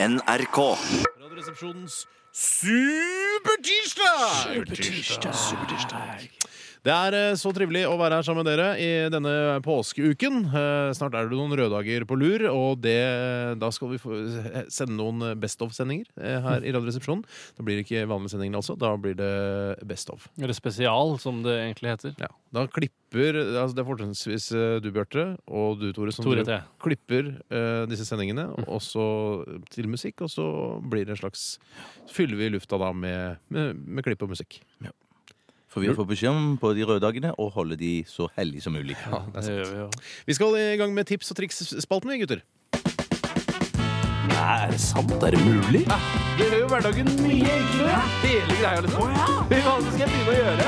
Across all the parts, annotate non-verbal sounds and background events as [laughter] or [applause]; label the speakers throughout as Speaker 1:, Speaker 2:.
Speaker 1: NRK.
Speaker 2: Radioresepsjonens supertirsdag! Det er eh, så trivelig å være her sammen med dere i denne påskeuken. Eh, Snart er det noen røddager på lur, og det, da skal vi få eh, sende noen Best of-sendinger eh, her i Radioresepsjonen. Da blir det ikke vanlige sendinger, altså. Da blir det Best of.
Speaker 3: Eller spesial, som det egentlig heter.
Speaker 2: Ja. Da klipper altså Det er fortrinnsvis eh, du, Bjarte, og du, Tore, som
Speaker 3: Tore
Speaker 2: driver-
Speaker 3: T.
Speaker 2: klipper eh, disse sendingene og så eh, til musikk. Og så blir det en slags Fyller vi lufta da med, med, med klipp og musikk.
Speaker 1: For vi har fått beskjed om på de røde dagene å holde de så hellige som mulig.
Speaker 2: det er sant.
Speaker 3: gjør vi jo.
Speaker 2: Vi skal i gang med tips og triks-spalten, vi, gutter.
Speaker 4: Er det sant? Er det mulig?
Speaker 5: Det gjør jo hverdagen mye enklere. Hele greia, liksom. Fy faen, så skal jeg begynne å gjøre.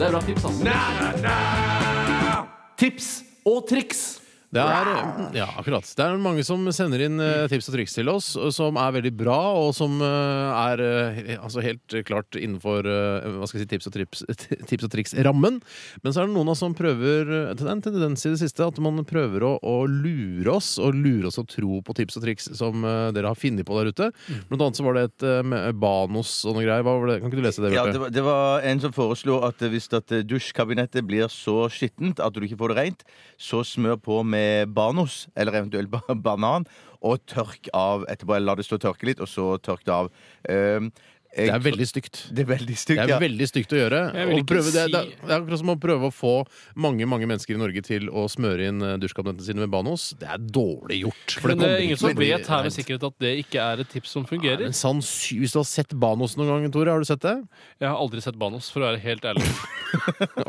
Speaker 4: Det er bra tips, altså. Tips og triks.
Speaker 2: Det er, ja, akkurat. Det er mange som sender inn eh, tips og triks til oss, og som er veldig bra, og som eh, er eh, altså helt klart innenfor eh, hva skal jeg si, tips og, trips, [laughs] tips og triks-rammen. Men så er det noen av oss som prøver eh, Det er en tendens i det siste at man prøver å, å lure oss, og lure oss å tro på tips og triks som eh, dere har funnet på der ute.
Speaker 1: Mm.
Speaker 2: Blant annet så var det et eh, med Banos og noe greier. Hva var det? Kan ikke du lese det,
Speaker 1: Ja, det
Speaker 2: Bjarte?
Speaker 1: var, det var en som foreslo at hvis at dusjkabinettet blir så skittent at du ikke får det rent, så smør på med Banos, eller eventuelt ba- banan, og tørk av etterpå. Eller la det stå og tørke litt, og så tørk det av. Ehm, jeg-
Speaker 2: det er veldig stygt.
Speaker 1: Det er veldig
Speaker 2: Det
Speaker 1: stygt,
Speaker 2: er
Speaker 1: ja.
Speaker 2: veldig stygt å gjøre.
Speaker 3: Jeg vil
Speaker 2: Å
Speaker 3: ikke
Speaker 2: prøve, det,
Speaker 3: si-
Speaker 2: det, er- det er akkurat som å prøve å få mange mange mennesker i Norge til å smøre inn eh, dusjkabinettene sine med Banos. Det er dårlig gjort. for
Speaker 3: Men det
Speaker 2: kommer
Speaker 3: er ingen
Speaker 2: ikke
Speaker 3: som
Speaker 2: til å bli
Speaker 3: vet her med
Speaker 2: rent.
Speaker 3: sikkerhet at det ikke er et tips som
Speaker 2: Nei,
Speaker 3: fungerer.
Speaker 2: men sannsy- Hvis du har sett Banos noen gang, Tore, har du sett det?
Speaker 3: Jeg har aldri sett Banos, for å være helt ærlig.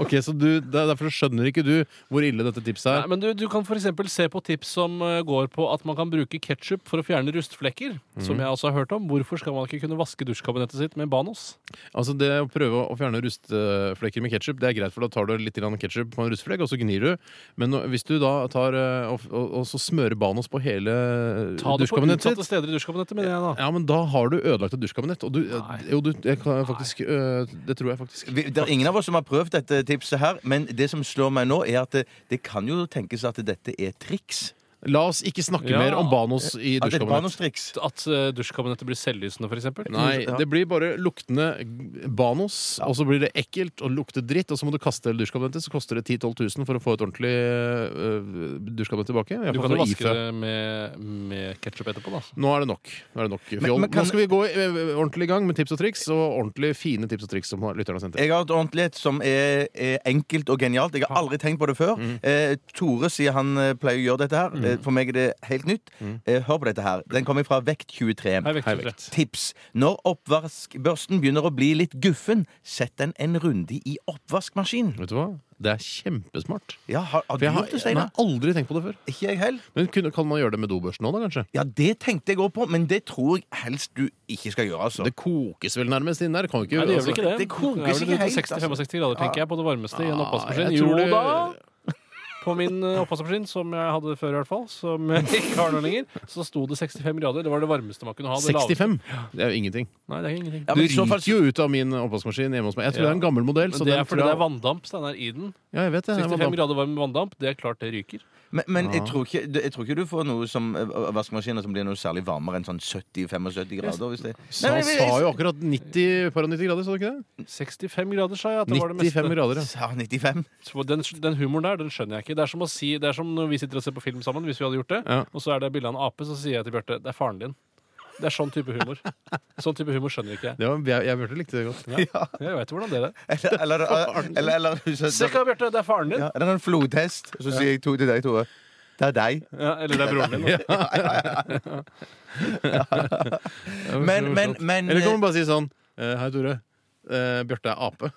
Speaker 2: Ok, så du, det er Derfor skjønner ikke du hvor ille dette tipset
Speaker 3: Nei,
Speaker 2: er.
Speaker 3: men du, du kan f.eks. se på tips som eh, går på at man kan bruke ketsjup for å fjerne rustflekker. Som jeg også har hørt om. Hvorfor skal man ikke kunne vaske dusjkabinettet sitt med Banos?
Speaker 2: Altså Det å prøve å fjerne rustflekker med ketsjup, er greit, for da tar du litt ketsjup på en rustflekk, og så gnir du. Men nå- hvis du da tar eh, og, og, og så smører Banos på hele
Speaker 3: Ta det på
Speaker 2: dusjkabinettet
Speaker 3: utsatte steder i dusjkabinettet, mener jeg da.
Speaker 2: Ja, men da har du ødelagt et dusjkabinett. Og du, eh, jo, du, jeg kan faktisk øh, Det tror jeg faktisk.
Speaker 1: Vi, det er ingen av oss som har prøvd dette tipset her, men det som slår meg nå, er at det, det kan jo tenkes at dette er triks.
Speaker 2: La oss ikke snakke
Speaker 3: Ja.
Speaker 2: mer om Banos i
Speaker 1: At det er
Speaker 2: dusjkabinett.
Speaker 1: Banos-triks.
Speaker 3: At eh, dusjkabinettet blir selvlysende, f.eks.
Speaker 2: Nei,
Speaker 1: Ja.
Speaker 2: det blir bare luktende Banos, og så blir det ekkelt og lukter dritt, og så må du kaste hele dusjkabinettet, så koster det 10 000-12 000 for å få et ordentlig øh, dusjkabinett tilbake. I hvert
Speaker 3: Du
Speaker 2: fall
Speaker 3: kan jo
Speaker 2: for
Speaker 3: vaske
Speaker 2: IFE.
Speaker 3: det med, med ketsjup etterpå, da.
Speaker 2: Nå er det nok. Nå, er det nok. fjoll.
Speaker 1: men kan-
Speaker 2: Nå skal vi gå i- øh, ordentlig i gang med tips og triks, og ordentlig fine tips og triks som lytterne har sendt inn.
Speaker 1: Jeg har et ordentlig et som er, er enkelt og genialt. Jeg har aldri tenkt på det før.
Speaker 2: Mm.
Speaker 1: Eh, Tore sier han eh, pleier å gjøre dette her. Eh, for meg er det helt nytt. Eh, hør på dette her. Den kommer fra Vekt23.
Speaker 3: Hei, vekt,
Speaker 2: Mm. Hei,
Speaker 3: Tore.
Speaker 2: vekt.
Speaker 1: Tips. Når oppvaskbørsten begynner å bli litt guffen, sett den en runde i oppvaskmaskinen.
Speaker 2: Vet du hva? Det er kjempesmart.
Speaker 1: Ja, har,
Speaker 2: For
Speaker 1: har Eh. du
Speaker 2: jeg har,
Speaker 1: gjort
Speaker 2: jeg
Speaker 1: det, Steinar?
Speaker 2: har aldri tenkt på det før.
Speaker 1: Ikke jeg heller.
Speaker 2: Men kunne, kan man gjøre det med dobørsten nå, da, kanskje?
Speaker 1: Ja, det tenkte jeg òg på, men det tror jeg helst du ikke skal gjøre, altså.
Speaker 2: Det kokes vel nærmest inn der? Kan jo ikke,
Speaker 3: Nei, det gjør vel
Speaker 2: altså-
Speaker 3: ikke det.
Speaker 1: det kokes
Speaker 3: Det er vel rundt
Speaker 1: ikke helt,
Speaker 3: 60-65 grader, tenker jeg, på det varmeste i en
Speaker 2: Ah,
Speaker 3: oppvaskmaskin.
Speaker 2: jeg
Speaker 3: Jo
Speaker 2: tror det-
Speaker 3: da! På min eh, oppvaskmaskin, som jeg hadde før i hvert fall, som [laughs] jeg ikke har nå lenger, så sto det 65 grader. Det var det varmeste man
Speaker 2: altså,
Speaker 3: kunne ha. Det lave-
Speaker 2: 65? Det er jo ingenting.
Speaker 3: Nei, det er ingenting.
Speaker 1: Ja,
Speaker 2: Du
Speaker 1: men i så fall-
Speaker 2: ryker jo ut av min oppvaskmaskin hjemme hos meg. Jeg tror det
Speaker 3: Ja.
Speaker 2: er en gammel modell. Så den
Speaker 3: Men det er fordi
Speaker 2: tror
Speaker 3: det
Speaker 2: jeg-
Speaker 3: er vanndamp Steinar, i den.
Speaker 2: Ja, jeg vet det. den er
Speaker 3: 65
Speaker 2: vanndamp.
Speaker 3: grader varm vanndamp, det er klart det ryker.
Speaker 1: Men, men jeg, tror ikke, jeg tror ikke du får noe som eh, vaskemaskiner som blir noe særlig varmere enn sånn 70-75 grader. Hvis det...
Speaker 2: Sa,
Speaker 1: Nei, men-
Speaker 2: sa jo akkurat 90 par og 90 grader, sa du ikke det?
Speaker 3: 65 grader, sa jeg. at det var det meste.
Speaker 2: 95 grader, ja.
Speaker 1: Sa 95?
Speaker 3: Så Den, den humoren der, den skjønner jeg ikke. Det er som å si, det er som når vi sitter og ser på film sammen, hvis vi hadde gjort det,
Speaker 2: Ja.
Speaker 3: og så er det bilde av en ape, så sier jeg til Bjarte det er faren din. Det er sånn type humor. Sånn type humor skjønner ikke jeg.
Speaker 2: Det var, jeg jeg hørte likte det godt.
Speaker 3: Jeg vet hvordan dere er.
Speaker 1: [laughs] Eller, eller, eller, eller,
Speaker 3: Se hva, Bjarte, det er faren din!
Speaker 1: ja, eller en flodhest. Og så sier jeg to til deg, Tore. Det er deg.
Speaker 3: Ja, eller det er broren din. da.
Speaker 2: Det var
Speaker 1: Men,
Speaker 2: morsomt.
Speaker 1: men, men
Speaker 2: Eller kan man bare si sånn eh, Hei, Tore. Eh, Bjarte er ape.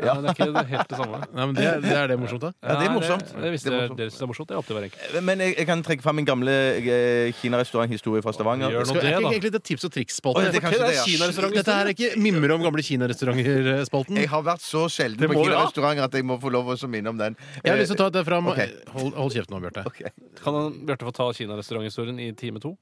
Speaker 3: Ja, det er ikke det er helt det samme.
Speaker 2: Nei, men det, det er det morsomt, da.
Speaker 1: Ja, det er morsomt.
Speaker 3: Nei, Det, det, hvis
Speaker 1: Det er
Speaker 3: det,
Speaker 1: morsomt.
Speaker 3: dere syns det er morsomt, det er opp til hver enkelt.
Speaker 1: eh, men jeg, jeg kan trekke fram min gamle eh, kinarestauranthistorie fra Stavanger.
Speaker 3: Gjør nå
Speaker 2: Skal, er
Speaker 3: det,
Speaker 2: ikke
Speaker 3: da.
Speaker 2: egentlig det tips og
Speaker 1: Å,
Speaker 2: triks-spalten?
Speaker 1: det er kanskje det, ja.
Speaker 2: Dette her er ikke mimre om gamle kinarestauranter-spalten.
Speaker 1: Jeg har vært så sjelden
Speaker 3: Det
Speaker 1: på
Speaker 3: må vi ha.
Speaker 1: kinarestauranter at jeg må få lov å så minne om den. Eh,
Speaker 2: Jeg har lyst til å ta dette fram.
Speaker 1: Ok.
Speaker 2: Hold, hold kjeft nå, Bjarte.
Speaker 3: Kan han- Bjarte få ta kinarestauranthistorien i time to?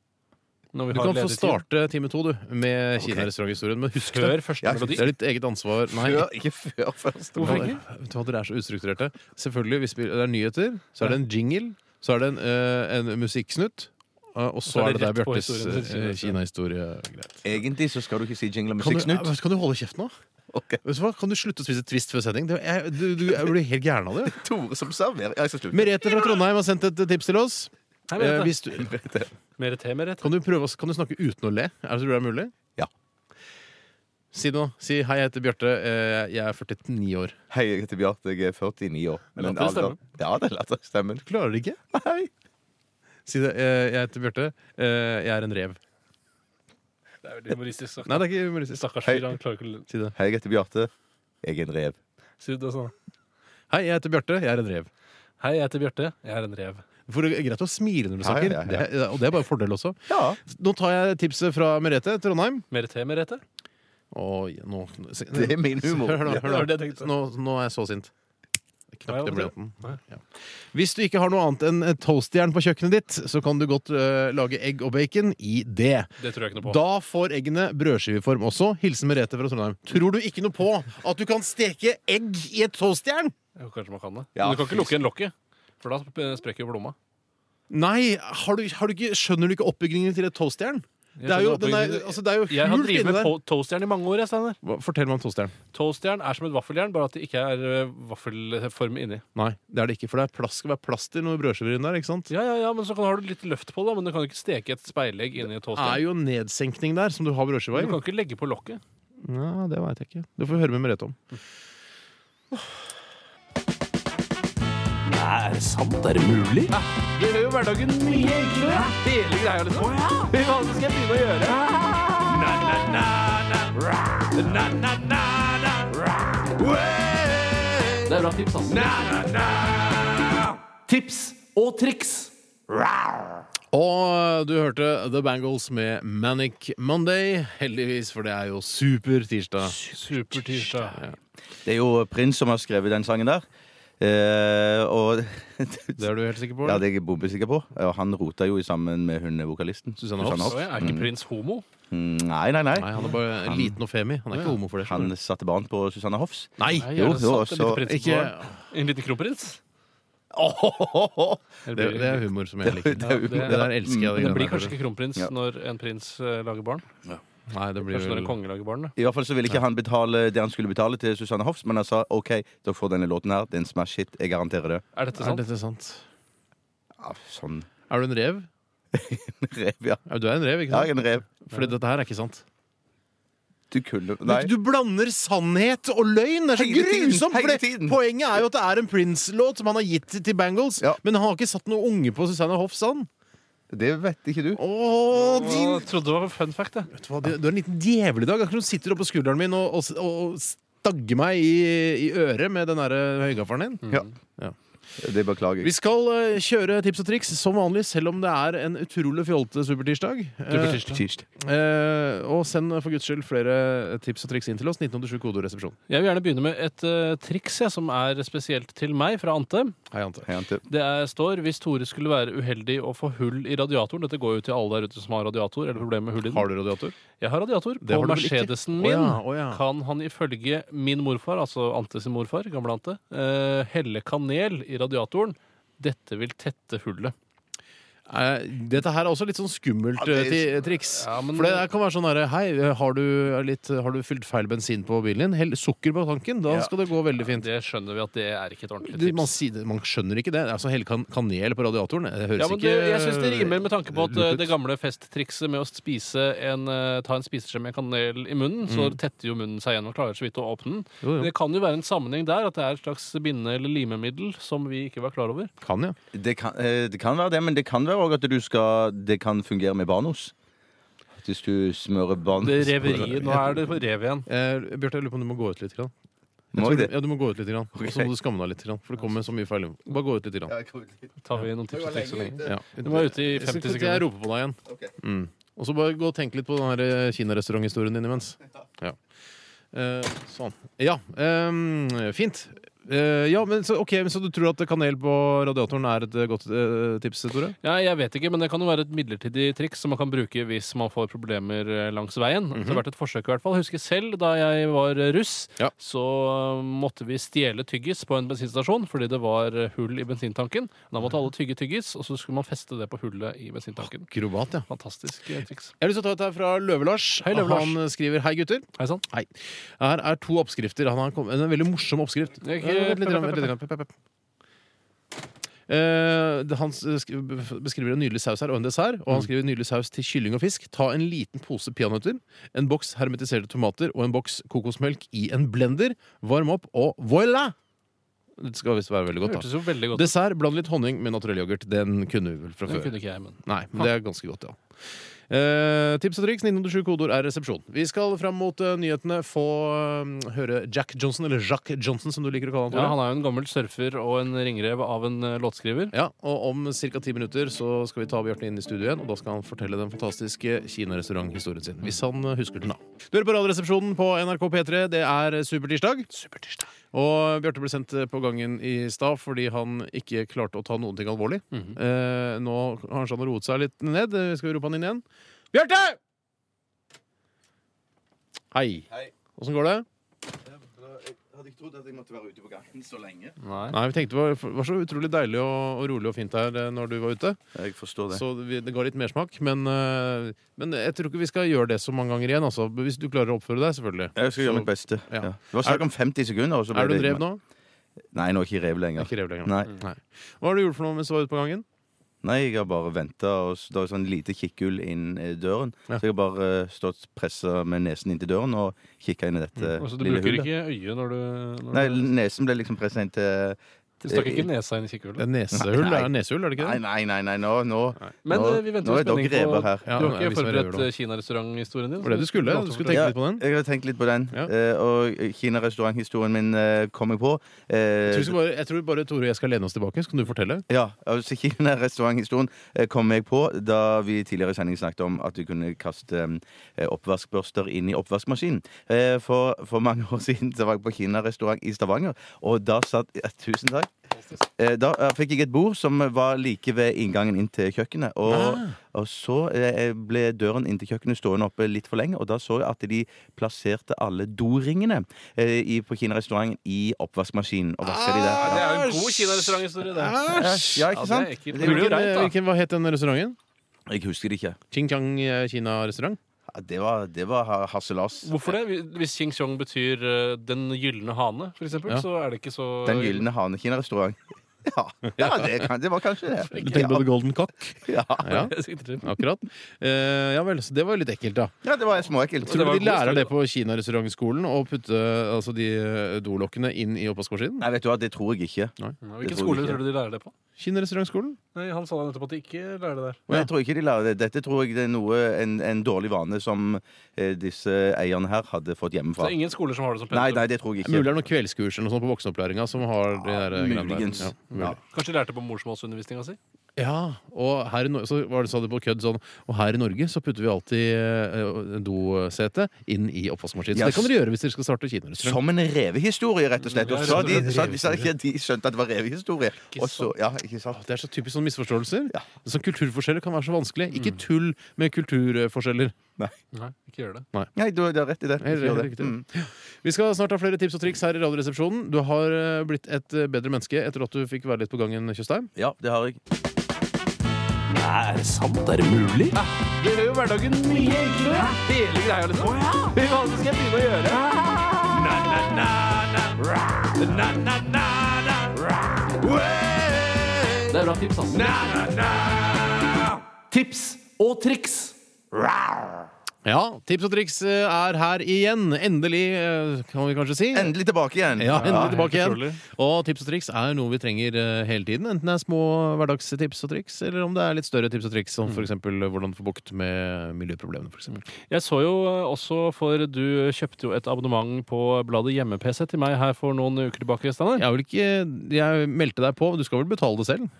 Speaker 3: Når vi
Speaker 2: Du
Speaker 3: har
Speaker 2: kan få
Speaker 3: ledig tid.
Speaker 2: starte time to, du, med Kinarestauranthistorien. Men husk det.
Speaker 3: Før første
Speaker 1: Ja,
Speaker 3: melodi.
Speaker 2: Det er ditt eget ansvar. Nei,
Speaker 1: Før, ikke før første
Speaker 3: Hvorfor
Speaker 1: mål.
Speaker 3: ikke?
Speaker 2: Vet du hva, Dere er så ustrukturerte. Selvfølgelig, hvis vi- det er nyheter, så er det en jingle, så er det en, eh, en musikksnutt, eh, og så er det der
Speaker 3: rett på
Speaker 2: Bjartes
Speaker 3: historien til
Speaker 2: eh,
Speaker 3: Kina.
Speaker 2: Kina-historie. Greit.
Speaker 1: Egentlig så skal du ikke si jingle og
Speaker 2: Kan du,
Speaker 1: musikksnutt.
Speaker 2: kan du holde kjeft nå?
Speaker 1: Ok.
Speaker 2: Vet du hva? Kan du slutte å spise Twist før sending? Det- Jeg, du, du, jeg blir helt gæren av det.
Speaker 1: Tore som serverer. Ja, jeg skal slutte.
Speaker 2: Merete fra Trondheim har sendt et tips til oss.
Speaker 3: Nei,
Speaker 2: Eh,
Speaker 3: Merete.
Speaker 2: hvis du,
Speaker 1: [laughs]
Speaker 3: Merete, Merete.
Speaker 2: kan, du prøve, å- kan du snakke uten å le? Er det, tror du det er mulig?
Speaker 1: Ja.
Speaker 2: Si det nå. Si hei, jeg heter Bjarte. eh, Jeg er 49 år.
Speaker 1: Hei, jeg heter Bjarte. Jeg er 49 år.
Speaker 3: Men later det
Speaker 1: alder- Ja, det later stemmen.
Speaker 2: Klarer det ikke?
Speaker 1: Hei.
Speaker 2: Si det. eh, Jeg heter Bjarte. eh, Jeg er en rev.
Speaker 3: Det er veldig humoristisk sagt.
Speaker 2: Nei, det er ikke humoristisk.
Speaker 3: Stakkars fyr, han klarer ikke å
Speaker 2: Si det.
Speaker 1: Hei, jeg heter Bjarte. Jeg er en rev.
Speaker 3: si det sånn.
Speaker 2: Hei, jeg heter Bjarte. Jeg er en rev.
Speaker 3: Hei, jeg heter Bjarte. Jeg er en rev.
Speaker 2: For det er greit å smile når du
Speaker 1: Ja, ja,
Speaker 2: snakker.
Speaker 1: ja, ja.
Speaker 2: Det er- og det er bare en fordel også.
Speaker 1: Ja.
Speaker 2: Nå tar jeg tipset fra Merete Trondheim.
Speaker 3: Merete, Merete.
Speaker 2: Og nå se-
Speaker 1: Det er min humor.
Speaker 2: Hør, nå,
Speaker 1: Ja,
Speaker 3: det var
Speaker 2: hør,
Speaker 3: det
Speaker 2: nå.
Speaker 3: jeg tenkte.
Speaker 2: Nå, nå er jeg så sint. Jeg
Speaker 3: Ja,
Speaker 2: Knakk
Speaker 3: ja,
Speaker 2: den
Speaker 3: Nei.
Speaker 2: blyanten. Ja. Hvis du ikke har noe annet enn toastjern på kjøkkenet ditt, så kan du godt eh, lage egg og bacon i det.
Speaker 3: Det tror jeg ikke noe på.
Speaker 2: Da får eggene brødskiveform også. Hilsen Merete fra Trondheim. Tror du ikke noe på at du kan steke egg i et toastjern?
Speaker 3: Jo, Kanskje man kan det.
Speaker 1: Ja.
Speaker 3: Men du kan ikke lukke igjen lokket, for da sp- sprekker jo blomma.
Speaker 2: Nei, har du, har du ikke, skjønner du ikke oppbyggingen til et toastjern? Det er jo, den er, altså, det er jo
Speaker 3: jeg har
Speaker 2: hult
Speaker 3: drevet
Speaker 2: inni
Speaker 3: med
Speaker 2: der.
Speaker 3: to- toastjern i mange år. jeg, Steinar.
Speaker 2: Hva- Fortell meg om toastjern.
Speaker 3: Toastjern er som et vaffeljern, bare at det ikke er eh, vaffelform inni.
Speaker 2: Nei, det er det ikke, for det er plass, skal være plass til noe brødskiver inni der. ikke sant?
Speaker 3: Ja, ja, ja, men så kan, har du litt løft på det, men du kan ikke steke et speilegg inni et
Speaker 2: Det er
Speaker 3: toastjern.
Speaker 2: jo en nedsenkning der som du har brødskiva
Speaker 3: Men
Speaker 2: i.
Speaker 3: Du kan ikke legge på lokket.
Speaker 2: Ja, det veit jeg ikke. Det får vi høre med Merete om.
Speaker 4: Nei, er det sant? Er det mulig?
Speaker 5: Det gjør jo hverdagen mye enklere. Hele greia, liksom. Hva skal jeg begynne å gjøre? Na, na, na, na. Na, na, na, na.
Speaker 4: Det er bra tips, altså. ass.
Speaker 5: Na, na, na. Tips og triks.
Speaker 2: Og du hørte The Bangles med Manic Monday. Heldigvis, for det er jo super tirsdag.
Speaker 3: Supertirsdag.
Speaker 1: Det er jo Prins som har skrevet den sangen der. Eh, og
Speaker 2: Det er du helt sikker på?
Speaker 1: Ja, det er jeg bombesikker på. Og han rota jo i sammen med hun vokalisten.
Speaker 2: Susanne
Speaker 3: Så jeg er ikke prins homo.
Speaker 1: Mm, Nei, nei, nei.
Speaker 2: Nei, han er bare liten og femi. Han er ikke homo for det.
Speaker 1: Han satte barn på Susanne Hoffs.
Speaker 2: Nei!
Speaker 3: Nei, er
Speaker 1: Jo,
Speaker 3: det
Speaker 1: jo,
Speaker 3: sant? En
Speaker 1: så-
Speaker 3: liten prins på
Speaker 2: Ikke,
Speaker 3: barn? En liten kronprins?
Speaker 2: det, det er humor som jeg liker.
Speaker 1: Det er jo-
Speaker 3: det-
Speaker 2: Det der elsker jeg.
Speaker 3: Men det
Speaker 2: greiene
Speaker 3: blir
Speaker 2: der.
Speaker 3: kanskje ikke kronprins
Speaker 1: Ja.
Speaker 3: når en prins eh, lager barn.
Speaker 2: Nei, det blir
Speaker 3: Kanskje når
Speaker 2: vel
Speaker 3: en konge lager barn. da.
Speaker 1: I hvert fall så ville ikke han betale det han skulle betale til Susanne Hoffs, men han sa OK, dere får denne låten her. Det er en smash hit. Jeg garanterer det.
Speaker 3: Er dette
Speaker 2: Er
Speaker 3: sant?
Speaker 2: dette sant?
Speaker 1: Ja, sånn [laughs]
Speaker 2: Er du en rev?
Speaker 1: rev, ja.
Speaker 2: Ja, Du er en rev, ikke
Speaker 1: Ja, jeg
Speaker 2: sant?
Speaker 1: er en rev.
Speaker 2: Fordi dette her er ikke sant.
Speaker 1: Du kunne Nei.
Speaker 2: Du blander sannhet og løgn! Det er så
Speaker 1: Hele tiden,
Speaker 2: grusomt! For
Speaker 1: hele
Speaker 2: det-
Speaker 1: tiden.
Speaker 2: poenget er jo at det er en Prince-låt som han har gitt til Bangles,
Speaker 1: Ja.
Speaker 2: men han har ikke satt noe unge på Susanne Hoff Sand.
Speaker 1: Det vet ikke du.
Speaker 2: Åh, din...
Speaker 3: Å, trodde det var fun fact, jeg.
Speaker 2: Vet du hva, du du er en liten djevel i dag. Akkurat som du sitter oppå skulderen min og, og, og stagger meg i, i øret med den der eh, høygaffelen din.
Speaker 1: Ja.
Speaker 2: Ja.
Speaker 1: Det beklager
Speaker 2: Vi
Speaker 1: jeg.
Speaker 2: skal eh, kjøre tips og triks som vanlig, selv om det er en utrolig fjolte supertirsdag. Eh,
Speaker 3: Supertirsdag.
Speaker 1: Tirsdag.
Speaker 2: Eh, og send for guds skyld flere eh, tips og triks inn til oss. 1987 kodoresepsjon.
Speaker 3: Jeg vil gjerne begynne med et eh, triks jeg, som er spesielt til meg, fra Ante.
Speaker 2: Hei, Ante.
Speaker 1: Hei, Ante.
Speaker 3: Det er, står hvis Tore skulle være uheldig og få hull i radiatoren Dette går jo til alle der ute som har radiator eller problemer med hull i den.
Speaker 2: Har du radiator?
Speaker 3: Jeg har radiator
Speaker 2: Det
Speaker 3: på
Speaker 2: har du vel ikke?
Speaker 3: Mercedesen
Speaker 2: Å
Speaker 3: min.
Speaker 2: ja, å ja.
Speaker 3: Kan han ifølge min morfar, altså Ante sin morfar, gamle Ante, eh, helle kanel i radiatoren? Dette vil tette hullet.
Speaker 2: Eh, dette her er også litt sånn skummelt
Speaker 1: Ja,
Speaker 2: eh,
Speaker 1: det-
Speaker 2: ti- triks.
Speaker 3: Ja, men-
Speaker 2: For det der kan være sånn herre Hei, har du, eh, litt, har du fylt feil bensin på bilen din? Hell sukker på tanken. Da
Speaker 1: Ja.
Speaker 2: skal det gå veldig fint.
Speaker 3: Det skjønner vi at det er ikke et ordentlig
Speaker 2: Det- man,
Speaker 3: tips.
Speaker 2: sier det, man skjønner ikke det. Altså, Helle kan kanel på radiatoren det høres
Speaker 3: Ja, men det,
Speaker 2: ikke
Speaker 3: jeg syns det rimer med tanke på at
Speaker 2: lurt
Speaker 3: eh,
Speaker 2: ut.
Speaker 3: det gamle festtrikset med å spise en, eh, ta en spiseskje med kanel i munnen, så
Speaker 2: Mm.
Speaker 3: tetter jo munnen seg igjen og klarer så vidt å åpne den.
Speaker 2: Jo, jo.
Speaker 3: Men Det kan jo være en sammenheng der, at det er et slags binde- eller limemiddel som vi ikke var klar over.
Speaker 2: [laughs] Kan, ja.
Speaker 1: Det kan, eh, det kan være det, men det kan være òg at du skal Det kan fungere med Banos. Hvis du smører Banos
Speaker 3: Det reveriet, Nå er det på rev igjen.
Speaker 2: Eh, Bjarte, jeg lurer på om du må gå ut litt. Grann. Jeg
Speaker 1: Må
Speaker 2: tror
Speaker 1: jeg det?
Speaker 2: du- Ja, du må gå ut litt, grann.
Speaker 1: Ok.
Speaker 2: og så må du skamme deg litt. Grann, for det kommer så mye feil. Bare gå ut litt. Grann.
Speaker 3: Tar vi noen tips og triks så lenge.
Speaker 2: Ja.
Speaker 3: Du var ute i
Speaker 2: Jeg skal
Speaker 3: 50
Speaker 2: ikke jeg
Speaker 3: sekunder.
Speaker 2: roper på deg igjen. Mm. Og så bare gå og tenk litt på den her kinarestauranthistorien din imens. Ja. Eh, sånn. Ja, Eh, ehm, fint. Eh, ja, men så, ok, men så du tror at kanel på radiatoren er et eh, godt eh, tips, Tore?
Speaker 3: Ja, jeg vet ikke, men det kan jo være et midlertidig triks som man kan bruke hvis man får problemer eh, langs veien. Det har vært et forsøk i hvert fall. Jeg husker selv da jeg var eh, russ,
Speaker 2: Ja.
Speaker 3: så eh, måtte vi stjele tyggis på en bensinstasjon fordi det var eh, hull i bensintanken. Da måtte alle tygge tyggis, og så skulle man feste det på hullet i bensintanken.
Speaker 2: Akrobat, ja.
Speaker 3: Fantastisk eh, triks.
Speaker 2: Jeg har lyst til å ta dette her fra Løve-Lars.
Speaker 3: Hei, Løve-Lars.
Speaker 2: Han eh, skriver Hei, gutter.
Speaker 3: Hei sann.
Speaker 2: Hei. Her er to oppskrifter. Han har kommet, en veldig morsom oppskrift. Eh,
Speaker 3: Jeg-
Speaker 2: Vent litt, grann, vent litt. grann. Pep, pep, pep. Eh, det- han s- sk- beskriver en nydelig saus her og en dessert.
Speaker 3: Mm.
Speaker 2: Og han skriver nydelig saus til kylling og fisk. Ta en liten pose peanøtter, en boks hermetiserte tomater og en boks kokosmelk i en blender. Varm opp, og voilà! Det skal visst være veldig
Speaker 3: Det
Speaker 2: godt. da
Speaker 3: hørtes jo veldig godt ut.
Speaker 2: Dessert, bland litt honning med naturell yoghurt. Den kunne vi vel fra
Speaker 3: Det
Speaker 2: før.
Speaker 3: kunne ikke jeg, men
Speaker 2: Nei, men det er ganske godt, ja. Eh, tips og triks 1987 kodeord er resepsjon. Vi skal fram mot eh, nyhetene få eh, høre Jack Johnson, eller Jack Johnson som du liker å kalle han,
Speaker 3: ja,
Speaker 2: Tore.
Speaker 3: Han er jo en gammel surfer og en ringrev av en eh, låtskriver.
Speaker 2: Ja, og om ca. ti minutter så skal vi ta Bjarte inn i studio igjen, og da skal han fortelle den fantastiske kinarestauranthistorien sin. Hvis han eh, husker den, da. Du hører på Radioresepsjonen på NRK P3. Det er supertirsdag. Og Bjarte ble sendt eh, på gangen i stad fordi han ikke klarte å ta noen ting alvorlig. eh, nå kanskje han har roet seg litt ned. Eh, Skal vi rope han inn igjen? Bjarte! Hei.
Speaker 1: Hei.
Speaker 2: Åssen går det?
Speaker 1: Jeg hadde ikke trodd at jeg måtte være ute på gangen så lenge.
Speaker 3: Nei.
Speaker 2: Nei, vi tenkte Det var, var så utrolig deilig og, og rolig og fint her eh, når du var ute.
Speaker 1: Jeg forstår det.
Speaker 2: Så vi, det ga litt mersmak, men, eh, men jeg tror ikke vi skal gjøre det så mange ganger igjen. Altså. Hvis du klarer å oppføre deg, selvfølgelig.
Speaker 1: Jeg skal
Speaker 2: Så-
Speaker 1: gjøre mitt beste.
Speaker 2: Ja.
Speaker 1: Ja. Det var snakk om 50 sekunder. Og så ble
Speaker 2: Er du en
Speaker 1: det-
Speaker 2: rev nå?
Speaker 1: Nei, nå er jeg ikke rev
Speaker 2: Jeg er
Speaker 1: lenger.
Speaker 2: Ikke rev Mm. lenger.
Speaker 1: Nei.
Speaker 2: Nei. Hva har du gjort for noe mens du var ute på gangen?
Speaker 1: Nei, jeg har bare venta. Det er sånn lite kikkhull inn eh, døren.
Speaker 2: Ja.
Speaker 1: Så jeg har bare eh, stått pressa med nesen inntil døren og kikka inn
Speaker 2: Mm.
Speaker 1: i dette
Speaker 3: Altså, du
Speaker 1: lille
Speaker 3: bruker
Speaker 1: hullet.
Speaker 3: ikke øyet når du, når
Speaker 1: Nei,
Speaker 3: du
Speaker 1: nesen ble liksom pressa inn til
Speaker 3: Du stakk ikke nesa inn i kikkehullet?
Speaker 2: Det er nesehull,
Speaker 1: Nei.
Speaker 2: det er nesehull, er det ikke
Speaker 1: Nei,
Speaker 2: det?
Speaker 1: nei, nei, nei, nå, nå,
Speaker 3: Men
Speaker 1: nå,
Speaker 3: eh, vi venter
Speaker 1: nå
Speaker 3: i
Speaker 1: er dere
Speaker 3: spenning på
Speaker 1: rever her.
Speaker 2: Ja, nå er vi
Speaker 3: Du har ikke
Speaker 2: som er rever
Speaker 3: forberedt
Speaker 2: nå.
Speaker 3: eh, kinarestauranthistorien din?
Speaker 2: Det var det du skulle. Du skulle tenke
Speaker 1: Ja,
Speaker 2: litt på den.
Speaker 1: Jeg har tenkt litt på den.
Speaker 2: Ja.
Speaker 1: Eh, og Kina-restauranthistorien min eh, kom jeg på. Eh,
Speaker 2: Jeg tror, vi skal bare, jeg tror bare Tore og jeg skal lene oss tilbake, så kan du fortelle.
Speaker 1: ja, altså [laughs] Kina-restauranthistorien eh, kom jeg på da vi tidligere i sendingen snakket om at vi kunne kaste eh, oppvaskbørster inn i oppvaskmaskinen. Eh, for, for mange år siden så var jeg på Kina-restaurant i Stavanger, og da satt ja, Tusen takk. Eh, Da eh, fikk jeg et bord som var like ved inngangen inn til kjøkkenet. Og,
Speaker 3: Ah.
Speaker 1: og så eh, ble døren inn til kjøkkenet stående oppe litt for lenge, og da så jeg at de plasserte alle doringene eh, i, på Kina-restauranten i oppvaskmaskinen. Og vaska de der.
Speaker 3: Ah, Det er jo en god kinarestauranthistorie, det.
Speaker 1: Æsj! Ja,
Speaker 3: Ja, det
Speaker 1: ikke
Speaker 3: er
Speaker 1: sant?
Speaker 3: ekkelt.
Speaker 1: Det er jo
Speaker 3: Burde
Speaker 1: greit.
Speaker 3: greit, da.
Speaker 2: Hvilken, hva het den restauranten? eh,
Speaker 1: Jeg husker det ikke.
Speaker 2: Ching Chang Kina-restaurant?
Speaker 1: Ja, Det var, det var ha- harselas.
Speaker 3: Hvorfor det? Hvis Xing Chong betyr eh, Den gylne hane, for eksempel,
Speaker 2: Ja.
Speaker 3: så er det ikke så
Speaker 1: Den
Speaker 3: [laughs]
Speaker 1: gylne hane-Kina-restaurant. [laughs] Ja, ja det, kan, det var kanskje det.
Speaker 2: Du tenker på The Golden Cock?
Speaker 1: Ja,
Speaker 2: [laughs] Ja,
Speaker 3: Jeg sikter til.
Speaker 2: akkurat. Eh, ja vel, så det var jo litt ekkelt, da.
Speaker 1: ja det var småekkelt.
Speaker 2: Tror
Speaker 3: var
Speaker 2: du
Speaker 3: en
Speaker 2: de
Speaker 3: god
Speaker 2: lærer
Speaker 3: historie,
Speaker 2: det på kinarestaurantskolen? Å putte altså, de eh, dolokkene inn i oppvaskmaskinen?
Speaker 1: Nei, vet du hva, det tror jeg ikke.
Speaker 3: Ja,
Speaker 1: Det
Speaker 3: Hvilken
Speaker 1: tror
Speaker 3: skole
Speaker 1: jeg ikke.
Speaker 3: tror du de lærer det på?
Speaker 2: Kinarestaurantskolen?
Speaker 3: Nei, Han sa nettopp at de ikke lærer det der.
Speaker 1: Men jeg tror ikke de lærer det. Dette tror jeg det er noe, en, en dårlig vane som eh, disse eierne her hadde fått
Speaker 3: Så
Speaker 1: hjemmefra.
Speaker 3: det er ingen skoler som har det som
Speaker 1: Nei,
Speaker 3: pensum.
Speaker 1: nei, det tror jeg
Speaker 2: Mulig det
Speaker 1: ikke.
Speaker 2: er noen kveldskurs eller noe sånt på voksenopplæringa som har de der greiene der.
Speaker 1: Muligens.
Speaker 2: Ja,
Speaker 1: Ja.
Speaker 2: mulig.
Speaker 3: Kanskje de lærte det på morsmålsundervisninga si?
Speaker 2: ja, og her i Norge så var det, sa de på kødd sånn Og her i Norge så putter vi alltid eh, dosete inn i oppvaskmaskinen. Så
Speaker 1: Ja,
Speaker 2: det kan dere gjøre hvis dere skal starte kinarestaurant.
Speaker 1: Som en revehistorie, rett og slett. Og
Speaker 3: Ja,
Speaker 1: så har de,
Speaker 3: rett og slett.
Speaker 1: så har de, så har de, de skjønte at det var revehistorie. Og så, ja, ikke sant?
Speaker 2: Det er så typisk sånne misforståelser.
Speaker 1: Ja. Mm.
Speaker 2: Sånn kulturforskjeller kan være så vanskelig. Ikke tull med kulturforskjeller.
Speaker 3: Nei, ikke gjør det.
Speaker 1: Nei, du, du har rett i det.
Speaker 2: Helt-
Speaker 1: Gjør
Speaker 2: helt
Speaker 1: det.
Speaker 2: riktig.
Speaker 1: Mm.
Speaker 2: Vi skal snart ha flere tips og triks her i Radioresepsjonen. Du har eh, blitt et eh, bedre menneske etter at du fikk være litt på gangen, Tjøstheim.
Speaker 1: Ja, det har jeg.
Speaker 4: Nei, er det sant? Er det mulig?
Speaker 5: Det gjør jo hverdagen mye enklere. Hele greia, liksom. Fy faen, så skal jeg begynne å gjøre. Na-na-na-na. Na-na-na-na.
Speaker 4: Det er bra tips, ass. Tips og triks.
Speaker 2: Ja, tips og triks eh, er her igjen. Endelig, eh, kan vi kanskje si.
Speaker 1: Endelig tilbake igjen.
Speaker 2: Ja, endelig tilbake
Speaker 3: helt
Speaker 2: igjen. Og tips og triks er noe vi trenger eh, hele tiden. Enten det er små hverdagstips og triks, eller om det er litt større tips og triks,
Speaker 3: Mm.
Speaker 2: som f.eks. hvordan få bukt med miljøproblemene. For eksempel.
Speaker 3: Jeg så jo eh, også, for du kjøpte jo et abonnement på bladet Hjemme-PC til meg her for noen uker tilbake. Steinar.
Speaker 2: jeg, vil ikke, jeg meldte deg på, men du skal vel betale det selv?
Speaker 3: Eh,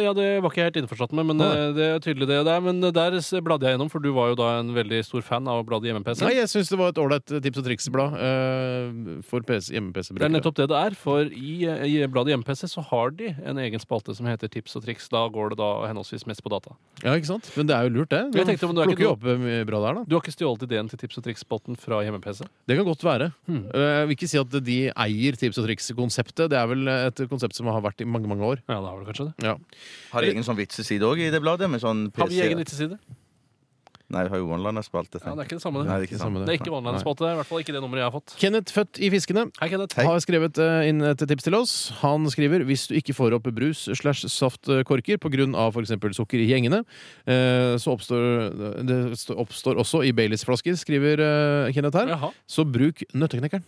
Speaker 3: Ja, det var ikke jeg helt innforstått med, men eh, det er tydelig det der. Men eh, der s- bladde jeg gjennom, for du var jo da en veldig stor fan av å blade i hjemme-PC.
Speaker 2: Nei, jeg syns det var et ålreit tips og triks-blad eh, for PC,
Speaker 3: Det er
Speaker 2: hjemme-PC-brukere.
Speaker 3: nettopp det det er, for i, eh, i bladet Hjemme-PC så har de en egen spalte som heter Tips og triks. Da går det da henholdsvis mest på data.
Speaker 2: Ja, ikke sant? Men det er jo lurt, det.
Speaker 3: Jeg tenkte, men du er ikke
Speaker 2: plukker jo opp eh, mye bra der, da.
Speaker 3: Du har ikke stjålet ideen til Tips og triks-spalten fra Hjemme-PC?
Speaker 2: Det kan godt være. Eh, Jeg vil ikke si at de eier tips og triks-konseptet. Det er vel et konsept som har vært i mange, mange år.
Speaker 3: Ja, det har vel kanskje det.
Speaker 2: Ja.
Speaker 1: Har de egen sånn vitseside òg i det bladet? Med sånn PC?
Speaker 3: Har vi egen vitseside?
Speaker 1: Nei, vi har jo Onliner-spalte.
Speaker 3: Ja, det er ikke det samme,
Speaker 1: Nei,
Speaker 3: det.
Speaker 1: det er ikke samme.
Speaker 3: Det er ikke online-spalte. I hvert fall ikke det nummeret jeg har fått.
Speaker 2: Kenneth Født i Fiskene
Speaker 3: Hei, Kenneth.
Speaker 2: har skrevet eh, inn et tips til oss. Han skriver hvis du ikke får opp brus slash saftkorker pga. f.eks. sukker i gjengene, eh, så oppstår det oppstår også i Baileys-flasker, skriver eh, Kenneth her.
Speaker 3: Jaha.
Speaker 2: Så bruk nøtteknekkeren.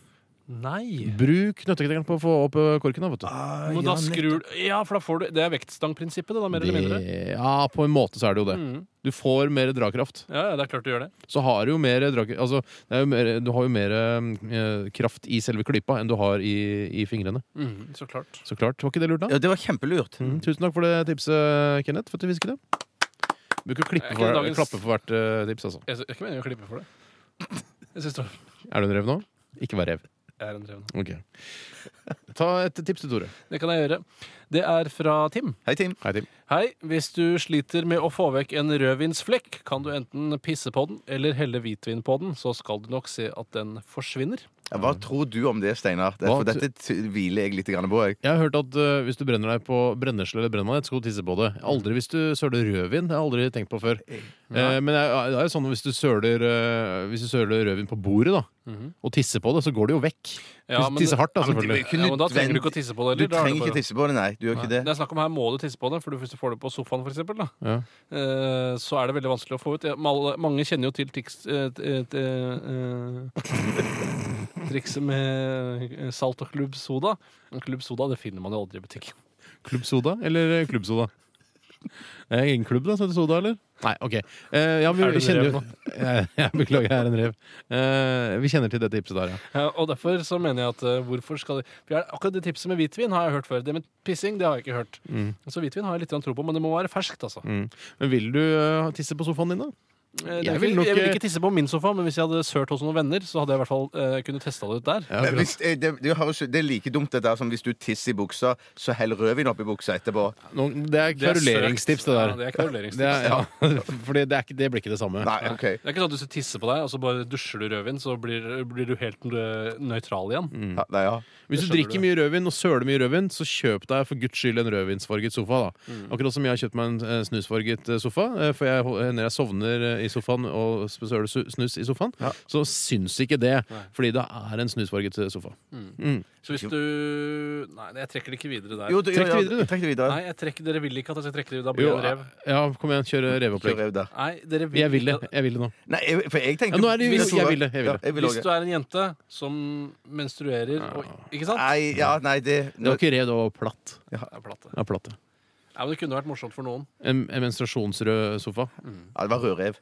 Speaker 3: Nei.
Speaker 2: Bruk nøtteknekkeren på å få opp eh, korken. da, vet du.
Speaker 1: Ah,
Speaker 3: Men da skrur du Ja, for da får du Det er vektstangprinsippet, det, da, mer eller mindre.
Speaker 2: Det- Ja, på en måte så er det jo det.
Speaker 3: Mm.
Speaker 2: Du får mer drakraft.
Speaker 3: Ja, ja, det er klart du gjør det.
Speaker 2: Så har du jo mer drakraft altså, det er jo mer, Du har jo mer eh, kraft i selve klypa enn du har i, i fingrene.
Speaker 3: Mm, så klart.
Speaker 2: Så klart. Var ikke det lurt, da?
Speaker 1: Ja, det var kjempelurt.
Speaker 2: Mm, tusen takk for det tipset, Kenneth. For at du hvisket det. Bruker å klippe
Speaker 3: Jeg
Speaker 2: for,
Speaker 3: kunne dagens-
Speaker 2: klappe for hvert eh, tips, altså.
Speaker 3: Jeg, sy- jeg er ikke meningen å klippe [laughs] for det. Jeg syns det var-
Speaker 2: Er du en rev nå? Ikke vær rev.
Speaker 3: jeg er en drevne.
Speaker 2: Ok. Ta et tips til Tore.
Speaker 3: Det kan jeg gjøre. Det er fra Tim.
Speaker 1: Hei, Tim.
Speaker 2: Hei, Tim.
Speaker 3: Hei, hvis du sliter med å få vekk en rødvinsflekk, kan du enten pisse på den eller helle hvitvin på den, så skal du nok se at den forsvinner.
Speaker 1: Ja, Hva tror du om det, Steinar?
Speaker 2: Mm.
Speaker 1: Det-
Speaker 2: Hva
Speaker 1: For
Speaker 2: t-
Speaker 1: dette t- hviler jeg litt grann på. Jeg.
Speaker 2: Jeg har hørt at eh, hvis du brenner deg på brennesle eller brennmanet, skal du tisse på det. Aldri hvis du søler rødvin. Det har jeg aldri tenkt på før. Eh, men det er det er jo sånn at hvis du søler, eh, hvis du søler rødvin på bordet da, og tisser på det, så går det jo vekk.
Speaker 3: Ja,
Speaker 2: hvis du
Speaker 3: men-
Speaker 2: tisser hardt, da,
Speaker 1: Ja, men det-
Speaker 2: selvfølgelig.
Speaker 1: kunne
Speaker 3: Ja, men da trenger du
Speaker 1: vent-
Speaker 3: ikke å tisse på det. eller? Da
Speaker 1: Du
Speaker 3: er det
Speaker 1: trenger
Speaker 3: bare-
Speaker 1: ikke tisse på det, nei. Du gjør
Speaker 3: Nei,
Speaker 1: ikke
Speaker 3: Det
Speaker 1: det.
Speaker 3: er snakk om her må du tisse på det, for hvis du får det på sofaen for eksempel, da,
Speaker 2: Ja.
Speaker 3: eh, så er det veldig vanskelig å få ut. Ja, mal- Mange kjenner jo til triks, eh, t- t- eh, [laughs] trikset med eh, salt og klubbsoda. Men klubbsoda det finner man jo aldri i butikken. [laughs]
Speaker 2: Klubbsoda eller eh, klubbsoda? Er jeg egen klubb, da, som heter Soda, eller? Nei, OK. Eh, ja, vi
Speaker 3: Er du en
Speaker 2: kjenner [laughs]
Speaker 3: rev
Speaker 2: jo jeg, jeg beklager, jeg er en rev. Eh, vi kjenner til dette tipset der, ja.
Speaker 3: Ja, og derfor så mener jeg at eh, hvorfor skal de For jeg, Akkurat det tipset med hvitvin har jeg hørt før. Det med pissing det har jeg ikke hørt.
Speaker 2: Mm.
Speaker 3: Så hvitvin har jeg litt grann tro på, men det må være ferskt, altså.
Speaker 2: Men vil du eh, tisse på sofaen din, da?
Speaker 3: Eh, det
Speaker 2: Jeg
Speaker 3: er
Speaker 2: vil
Speaker 3: ikke-
Speaker 2: nok,
Speaker 3: jeg vil
Speaker 2: eh,
Speaker 3: ikke tisse på min sofa, men hvis jeg hadde sølt hos noen venner, så hadde jeg i hvert fall eh, kunne testa det ut der.
Speaker 2: Ja,
Speaker 1: Men
Speaker 2: akkurat.
Speaker 1: hvis, eh, det, det, høres, det er like dumt det der som hvis du tisser i buksa, så hell rødvin oppi buksa etterpå.
Speaker 2: Nå- det er klaruleringstips, det
Speaker 3: Ja,
Speaker 2: der.
Speaker 3: det er klaruleringstips.
Speaker 2: Det er, ja, [laughs] fordi det, er ikke, det blir ikke det samme. [laughs]
Speaker 1: Nei, OK.
Speaker 3: Det er ikke sånn at du tisser på deg, og så bare dusjer du rødvin, så blir, blir du helt eh, nøytral igjen.
Speaker 2: Mm.
Speaker 1: Ja, nei, ja.
Speaker 2: Hvis du
Speaker 3: skjønner
Speaker 2: drikker mye rødvin og søler mye rødvin, så kjøp deg for guds skyld en rødvinsfarget sofa. da Akkurat som jeg har kjøpt meg en eh, snusfarget eh, sofa. eh, For jeg, hol- når jeg sovner eh, i sofaen og sp- søler su- snus i sofaen, så syns ikke det. Fordi det er en snusfarget eh, sofa.
Speaker 3: Så hvis du Nei, jeg trekker det ikke videre der.
Speaker 1: Jo, du-
Speaker 2: Trekk det
Speaker 1: ja,
Speaker 2: videre, du.
Speaker 1: Trekk det videre.
Speaker 3: Nei, jeg trekker, dere vil ikke at jeg skal trekke det videre. Da blir
Speaker 2: Jo,
Speaker 3: jeg en rev.
Speaker 2: ja, kom igjen, kjør eh,
Speaker 1: Kjør
Speaker 2: reveopplegg.
Speaker 1: rev der.
Speaker 3: Nei, dere vil
Speaker 2: Jeg vil det.
Speaker 3: ikke-
Speaker 2: jeg vil det nå
Speaker 1: Nei, jeg, for jeg
Speaker 2: Ja,
Speaker 1: tenkte
Speaker 2: nå er det-
Speaker 1: Hvis-
Speaker 2: jeg vil det, jeg vil det.
Speaker 1: Ja, jeg vil
Speaker 3: Hvis
Speaker 1: også. Ah.
Speaker 3: du er en jente som menstruerer og Ikke sant?
Speaker 1: Nei, ja, nei, det
Speaker 2: Det var ikke rev, det var platt.
Speaker 3: Det er platt, det.
Speaker 2: Ja, platt ja.
Speaker 3: Nei, men det kunne vært morsomt for noen.
Speaker 2: En, en menstruasjonsrød sofa.
Speaker 1: Ja, det var rødrev.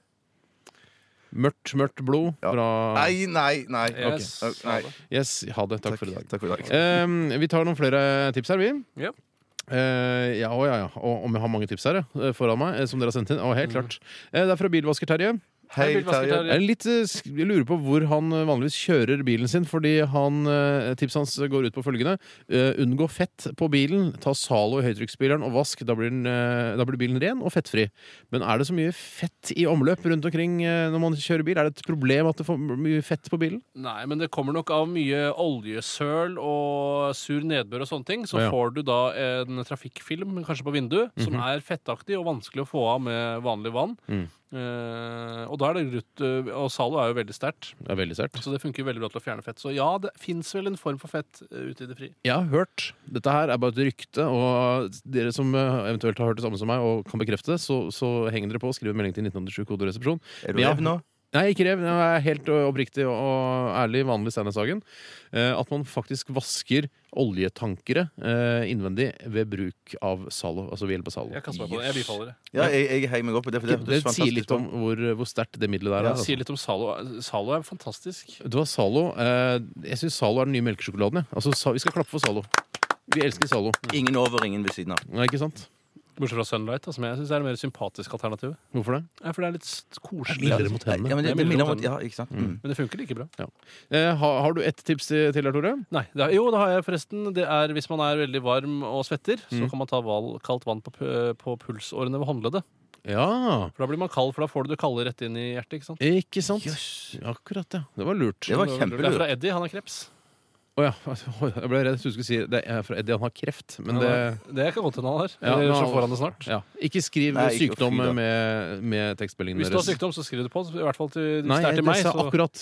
Speaker 2: Mørkt, mørkt blod
Speaker 1: Ja.
Speaker 2: fra
Speaker 1: Nei, nei, nei.
Speaker 3: Yes.
Speaker 1: Ok. Nei.
Speaker 2: Yes, ha det. Takk for i dag.
Speaker 1: Takk for i dag.
Speaker 2: Eh, vi tar noen flere tips her, vi.
Speaker 3: Ja.
Speaker 2: Eh, ja, å, ja, ja. Og, om jeg har mange tips her ja, foran meg, eh, som dere har sendt inn. Å, helt klart. Eh, det er fra Bilvasker Terje.
Speaker 1: Hei,
Speaker 3: Bilvasker
Speaker 1: Terje.
Speaker 3: Terje.
Speaker 2: Jeg, er litt, eh, sk- jeg lurer på hvor han eh, vanligvis kjører bilen sin, fordi han, eh, tipset hans går ut på følgende. Eh, unngå fett på bilen. Ta Zalo i høytrykksspilleren og vask. Da blir, den, eh, da blir bilen ren og fettfri. Men er det så mye fett i omløp rundt omkring eh, når man kjører bil? Er det et problem at det får mye fett på bilen?
Speaker 3: Nei, men det kommer nok av mye oljesøl og sur nedbør og sånne ting. Så
Speaker 2: Å, ja. Mhm.
Speaker 3: får du da en trafikkfilm, kanskje på vinduet, som er fettaktig og vanskelig å få av med vanlig vann.
Speaker 2: Mm.
Speaker 3: Eh, og da er det rutt, eh, og Zalo er jo veldig sterkt,
Speaker 2: Det er veldig sært.
Speaker 3: så det funker jo veldig bra til å fjerne fett. Så ja, det fins vel en form for fett eh, ute i det fri.
Speaker 2: Jeg har hørt Dette her er bare et rykte, og dere som eh, eventuelt har hørt det samme som meg og kan bekrefte det, så, så henger dere på og skriver melding til 1987 koderesepsjon.
Speaker 1: Er
Speaker 2: Men
Speaker 1: du
Speaker 2: jeg-
Speaker 1: rev nå?
Speaker 2: Nei, ikke rev. Jeg er helt ø, oppriktig og- og ærlig, vanlig Steinar Sagen. Eh, At man faktisk vasker oljetankere eh, innvendig ved bruk av Zalo. Altså ved hjelp av Zalo.
Speaker 3: Jeg kaster meg på det. Jeg bifaller det.
Speaker 1: Ja, jeg, jeg heier meg opp på det. For det,
Speaker 2: Det,
Speaker 1: hørtes
Speaker 2: sier
Speaker 1: fantastisk
Speaker 2: litt
Speaker 1: ut.
Speaker 2: om hvor, hvor sterkt det middelet der er.
Speaker 3: Det
Speaker 2: altså.
Speaker 3: sier litt om Zalo. Zalo er fantastisk.
Speaker 2: Du har Zalo. Eh, Jeg syns Zalo er den nye melkesjokoladen. jeg. Altså, Sa- vi skal klappe for Zalo. Vi elsker Zalo.
Speaker 1: Ingen over, ingen ved siden av.
Speaker 2: Nei, ikke sant?
Speaker 3: Bortsett fra Sunlight, da, som jeg syns er det mer sympatiske alternativet.
Speaker 2: Hvorfor det?
Speaker 3: Nei, for det er litt s-
Speaker 2: Det er mildere
Speaker 3: koselig.
Speaker 2: mot hendene.
Speaker 1: Ja, men det,
Speaker 3: Det er
Speaker 1: det minner om
Speaker 3: mildere
Speaker 1: at, ja, ikke sant? Mm.
Speaker 3: Men det funker like bra.
Speaker 2: Eh, har, har du ett tips til til her, Tore?
Speaker 3: Nei, det er, jo, det har jeg forresten. Det er Hvis man er veldig varm og svetter,
Speaker 2: Mm.
Speaker 3: så kan man ta val, kaldt vann på, pu- på pulsårene ved håndleddet.
Speaker 2: Ja,
Speaker 3: For da blir man kald, for da får du det kalde rett inn i hjertet. ikke sant?
Speaker 2: ikke sant?
Speaker 1: Jøss.
Speaker 2: Akkurat, ja. Det var lurt.
Speaker 1: Det var
Speaker 3: Det er
Speaker 1: kjempelurt.
Speaker 3: fra Eddie. Han er kreps.
Speaker 2: Å ja. [laughs] Jeg ble redd du skulle si det er fra Eddie, han har kreft. Men det
Speaker 3: Det kan godt hende han har.
Speaker 2: Ja, men
Speaker 3: Eller så
Speaker 2: han-
Speaker 3: får han det snart.
Speaker 2: ja. Ikke skriv
Speaker 1: Nei, ikke
Speaker 2: sykdom
Speaker 1: fy da.
Speaker 2: med, med tekstmeldingen
Speaker 3: Hvis du har sykdom, så skriv det på. I hvert fall til, hvis
Speaker 2: Nei, jeg,
Speaker 3: det er til meg.
Speaker 2: sa
Speaker 3: Så,
Speaker 2: akkurat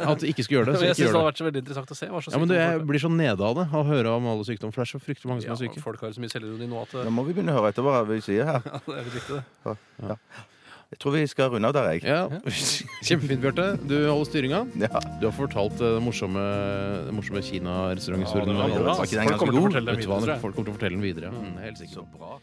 Speaker 2: at du ikke skulle
Speaker 3: [laughs]
Speaker 2: gjøre det. Så
Speaker 3: Men jeg
Speaker 2: ikke
Speaker 3: synes det
Speaker 2: gjør
Speaker 3: hadde
Speaker 2: det.
Speaker 3: vært så veldig interessant å se. Hva slags
Speaker 2: Ja, men du, jeg
Speaker 3: sykdom
Speaker 2: blir så nede av det av å høre om alle sykdommer. For det er så fryktelig mange
Speaker 3: folk
Speaker 2: som er
Speaker 3: har. ja,
Speaker 2: syke.
Speaker 3: folk har så mye selvironi nå at
Speaker 1: Nå
Speaker 3: eh,
Speaker 1: må vi begynne å høre etter hva vi sier her.
Speaker 3: [laughs] det er litt viktig, det.
Speaker 1: Jeg tror vi skal runde av der, jeg.
Speaker 2: Ja. [laughs] Kjempefint, Bjarte. Du holder styringa.
Speaker 1: Ja.
Speaker 2: Du har fortalt eh, den morsomme, den morsomme
Speaker 3: Ja, det
Speaker 2: Kina-restauranten.
Speaker 3: var bra,
Speaker 1: Var
Speaker 3: ass.
Speaker 1: ikke
Speaker 3: Folk kommer til
Speaker 1: den ganske
Speaker 3: å
Speaker 1: god?
Speaker 3: fortelle det
Speaker 2: Vet du hva,
Speaker 3: videre, tror jeg.
Speaker 2: Folk kommer til å fortelle den videre. Mm, helt sikkert.
Speaker 1: Så bra.